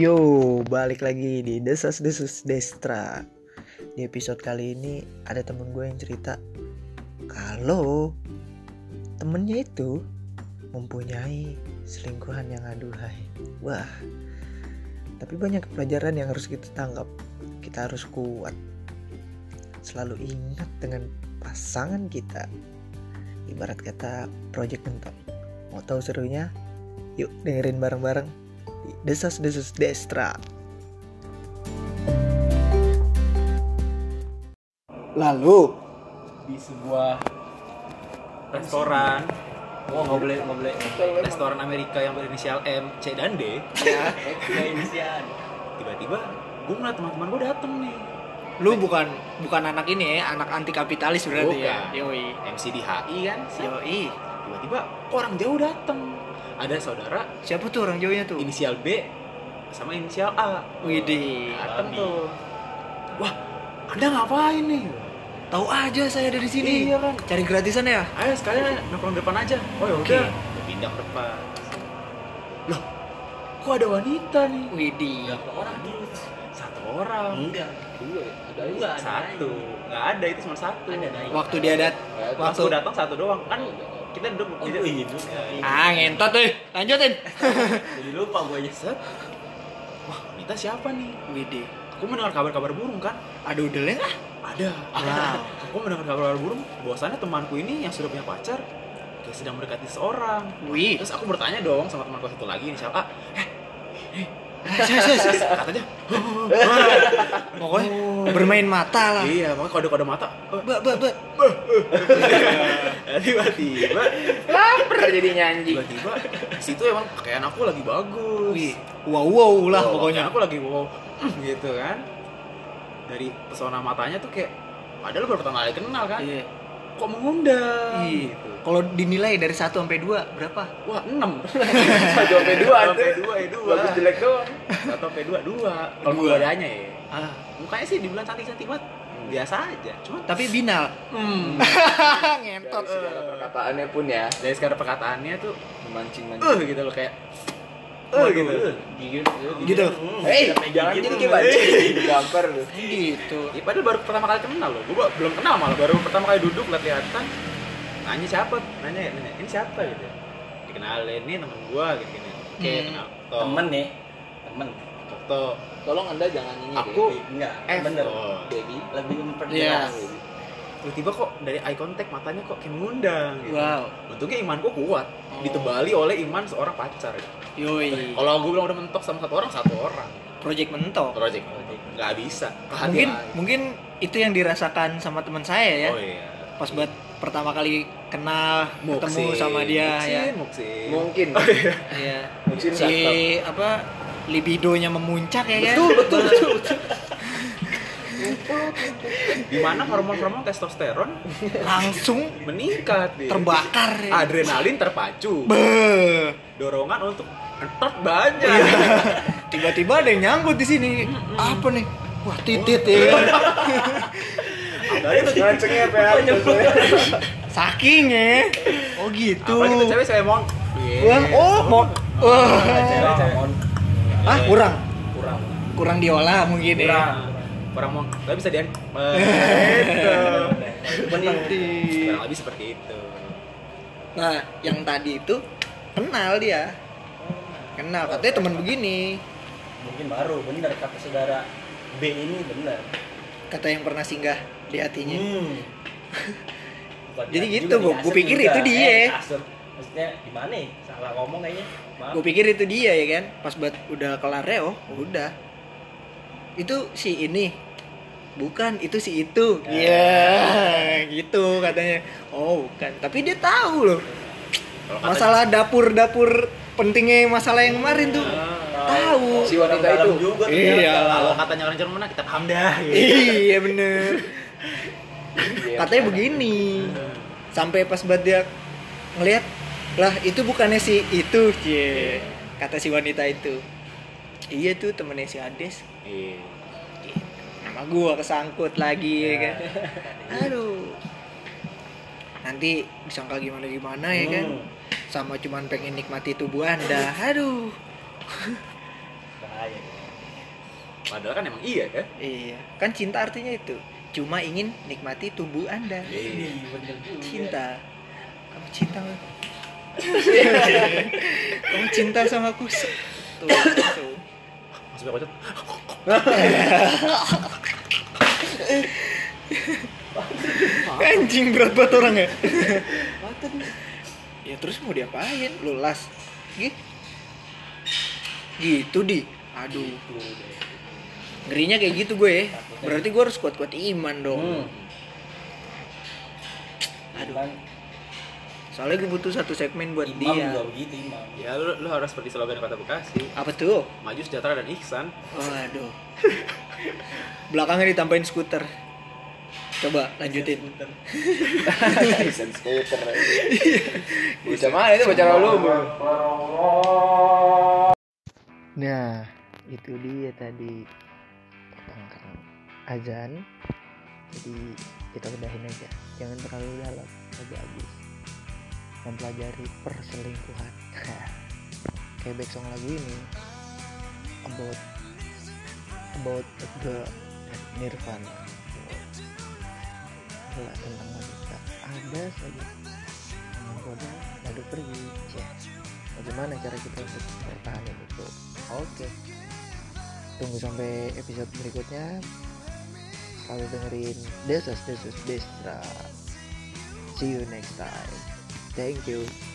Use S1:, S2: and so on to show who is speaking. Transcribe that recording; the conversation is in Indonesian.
S1: Yo, balik lagi di Desas Desus Destra. Di episode kali ini ada temen gue yang cerita kalau temennya itu mempunyai selingkuhan yang aduhai. Wah, tapi banyak pelajaran yang harus kita tanggap. Kita harus kuat. Selalu ingat dengan pasangan kita. Ibarat kata Project Mentok. Mau tahu serunya? Yuk dengerin bareng-bareng di Desas-Desus Destra. Lalu,
S2: di sebuah restoran Oh, nggak boleh, nggak boleh. Restoran Amerika yang berinisial M, C dan D. Ya, inisial. Tiba-tiba gue ngeliat teman-teman gue dateng nih.
S3: Lu bukan bukan anak ini ya, anak anti kapitalis berarti ya.
S2: Bukan.
S3: Yoi.
S2: MC di HI kan. Set.
S3: Yoi.
S2: Tiba-tiba kok orang jauh dateng. Ada saudara
S3: Siapa tuh orang jauhnya tuh?
S2: inisial B sama inisial A.
S3: Widih.
S2: Dateng tuh. Wah, anda ngapain nih?
S3: Tahu aja saya dari sini.
S2: Iya, kan.
S3: Cari gratisan ya?
S2: Ayo sekalian nongkrong depan aja. Oh ya
S3: Oke.
S2: udah. Gua Pindah ke depan. Loh, kok ada wanita nih?
S3: Widih.
S2: Berapa orang dulu? Satu orang.
S4: Enggak. Dua ya? Ada enggak? Ada
S2: satu. Enggak ada itu cuma satu.
S4: Ada naik.
S3: Waktu dia dat
S4: Eh,
S2: Pas
S3: waktu
S2: gua datang satu doang. Kan kita duduk Iya.
S4: Oh,
S2: tidak-
S4: gua hidup.
S3: Ah, ngentot tuh. Lanjutin.
S4: Jadi lupa gue aja.
S2: Set. Wah, wanita siapa nih?
S3: Widih.
S2: Aku mendengar kabar-kabar burung kan?
S3: Eh, Ada udelnya nggak?
S2: Ada.
S3: Wow.
S2: Aku mendengar kabar-kabar burung bahwasannya temanku ini yang sudah punya pacar dia sedang mendekati seorang.
S3: Wih.
S2: Terus aku bertanya dong sama temanku satu lagi inisial A. Eh, eh, eh, eh, eh, katanya. oh."
S3: Pokoknya bermain mata lah.
S2: Iya, makanya kode-kode mata. eh,
S3: Ba ba ba.
S2: Tiba-tiba
S3: Laper jadinya anjing.
S2: tiba-tiba di situ emang pakaian aku lagi bagus.
S3: Wih. Wow wow lah
S2: Wow,
S3: pokoknya.
S2: aku lagi wow gitu kan dari pesona matanya tuh kayak padahal baru pertama kali kenal kan
S3: Iya.
S2: kok mengundang
S3: Iya.
S2: gitu
S3: Kalau dinilai dari 1 sampai 2 berapa?
S2: wah enam
S4: Satu sampai dua, tuh.
S2: Satu sampai dua ya dua
S4: Bagus jelek doang.
S2: satu sampai dua dua kalau
S3: Dua.
S2: keadaannya ya
S3: Ah,
S2: mukanya sih dibilang cantik cantik banget biasa aja cuman
S3: tapi binal.
S2: hmm.
S3: ngentot.
S4: Dari segala perkataannya pun ya
S2: dari sekarang perkataannya tuh
S4: memancing
S2: eh
S4: mancing.
S2: gitu loh kayak eh
S4: Waduh,
S2: gitu
S4: eh,
S2: gigit Eh,
S3: Gitu.
S4: Hei, jangan gitu, jadi kayak mancing. Digampar lu.
S3: Gitu.
S2: Ya, padahal baru pertama kali kenal loh, gue belum kenal malah baru pertama kali duduk lihat-lihatan nanya siapa, nanya, nanya ini siapa gitu dikenalin, ini temen gue gitu gini oke
S3: Hmm.
S2: kenal, Tok,
S5: temen nih temen
S2: Tok, Tok,
S4: Tolong anda jangan ini. Eh. Oh.
S2: aku
S5: enggak
S2: F
S5: bener
S2: Tok.
S4: baby.
S5: lebih memperjelas
S3: Iya.
S2: tiba-tiba kok dari eye contact matanya kok kayak ngundang gitu
S3: Wow.
S2: untungnya imanku kuat,
S3: Oh.
S2: ditebali oleh iman seorang pacar gitu.
S3: Yoi.
S2: kalau gue bilang udah mentok sama satu orang, satu orang
S3: Project mentok.
S2: project,
S5: Oh,
S2: nggak bisa
S3: Mungkin
S2: kehadiran
S3: mungkin itu yang dirasakan sama teman saya ya.
S2: oh iya
S3: Pas buat pertama kali kenal ketemu
S2: Muksin.
S3: sama dia ya.
S2: Muksin, Muksin. Oh,
S4: Mungkin.
S3: Iya.
S4: Muksin
S3: Si
S4: gatal.
S3: apa libidonya memuncak ya kan?
S4: Betul, betul, betul, betul.
S2: di mana hormon-hormon testosteron
S3: Langsung
S2: meningkat Dit.
S3: terbakar. ya.
S2: adrenalin terpacu
S3: Beuh.
S2: dorongan untuk entot banyak
S3: Iya. Tiba-tiba ada yang nyangkut di sini. Apa nih? Wah, titit ya.
S4: Dari
S2: ya,
S4: ngancengnya PH.
S3: Saking ya. Oh gitu.
S2: apalagi tuh cewek Iya. saya mau
S3: Wah, oh, mau. Wah. Ah, kurang.
S2: kurang
S3: Kurang diolah mungkin ya.
S2: kurang kurang mau tapi bisa dia
S3: Gitu.
S2: itu
S3: Penting.
S2: kurang lebih seperti itu
S3: Nah, yang tadi itu kenal dia. Kenal, katanya teman begini.
S5: mungkin baru bener kata saudara B ini bener
S3: Kata yang pernah singgah di hatinya.
S5: hmm. Bukan
S3: Jadi
S5: dia
S3: gitu,
S5: juga,
S3: gua-
S5: jadi
S3: gua
S5: asep
S3: pikir
S5: juga.
S3: itu dia.
S5: Eh, asep. maksudnya gimana nih salah ngomong kayaknya maaf
S3: Gue pikir itu dia ya kan. Pas buat udah kelar ya, oh udah. Itu si ini. Bukan, itu si itu. Iya,
S2: Ah.
S3: gitu katanya. Oh, bukan. Tapi dia tahu loh.
S2: kalau kata
S3: Masalah dapur-dapur pentingnya masalah yang kemarin tuh. Tahu.
S4: Si wanita
S5: Orang
S4: itu.
S5: dalam juga tuh
S3: Iya.
S5: dia.
S2: kalau katanya orang Jerman kita paham dah gitu.
S3: Iya bener.
S4: Iya.
S3: Katanya begini. Sampai pas buat dia ngelihat lah itu bukannya si itu, cie. Kata si wanita itu. Iya tuh temennya si Ades.
S2: Iya.
S3: Sama gua kesangkut lagi ya kan. Aduh. Nanti disangka gimana gimana ya kan. Sama cuman pengen nikmati tubuh Anda. Aduh.
S5: bahaya
S2: Padahal kan emang iya kan?
S3: Iya, kan cinta artinya itu. Cuma ingin nikmati tubuh Anda.
S2: Iya.
S5: ini bener juga
S3: Cinta. Kamu cinta. sama- Kamu cinta sama aku. Se- Tuh, tuh.
S2: Masuk kocok.
S3: Anjing berat banget orang ya. ya terus mau diapain? Lu las. Gi- Gitu di. Aduh,
S5: Gitu deh.
S3: ngerinya kayak gitu gue. ya. Berarti gue harus kuat-kuat iman dong.
S5: Hmm.
S3: Aduh.
S5: Bang,
S3: Soalnya gue butuh satu segmen buat
S5: imam
S3: dia.
S5: juga begitu imam
S2: Ya lu, lu harus seperti slogan kota Bekasi.
S3: Apa tuh?
S2: Maju sejahtera dan ihsan.
S3: Waduh. Belakangnya ditambahin skuter. Coba lanjutin.
S5: Bener.
S4: Desain skuter.
S5: Iya.
S4: Bisa mana itu pacar lu?
S1: Nah, itu dia tadi tentang azan. Jadi kita udahin aja. Jangan terlalu dalam, agak habis. Mempelajari perselingkuhan. Kayak back song lagu ini about about a girl dan Nirvana. Gila tentang wanita. Ada saja yang menggoda lalu pergi. Ya. Bagaimana cara kita untuk bertahan itu? Oke. Tunggu sampai episode berikutnya. Selalu dengerin Desas Desus Destra. See you next time. Thank you.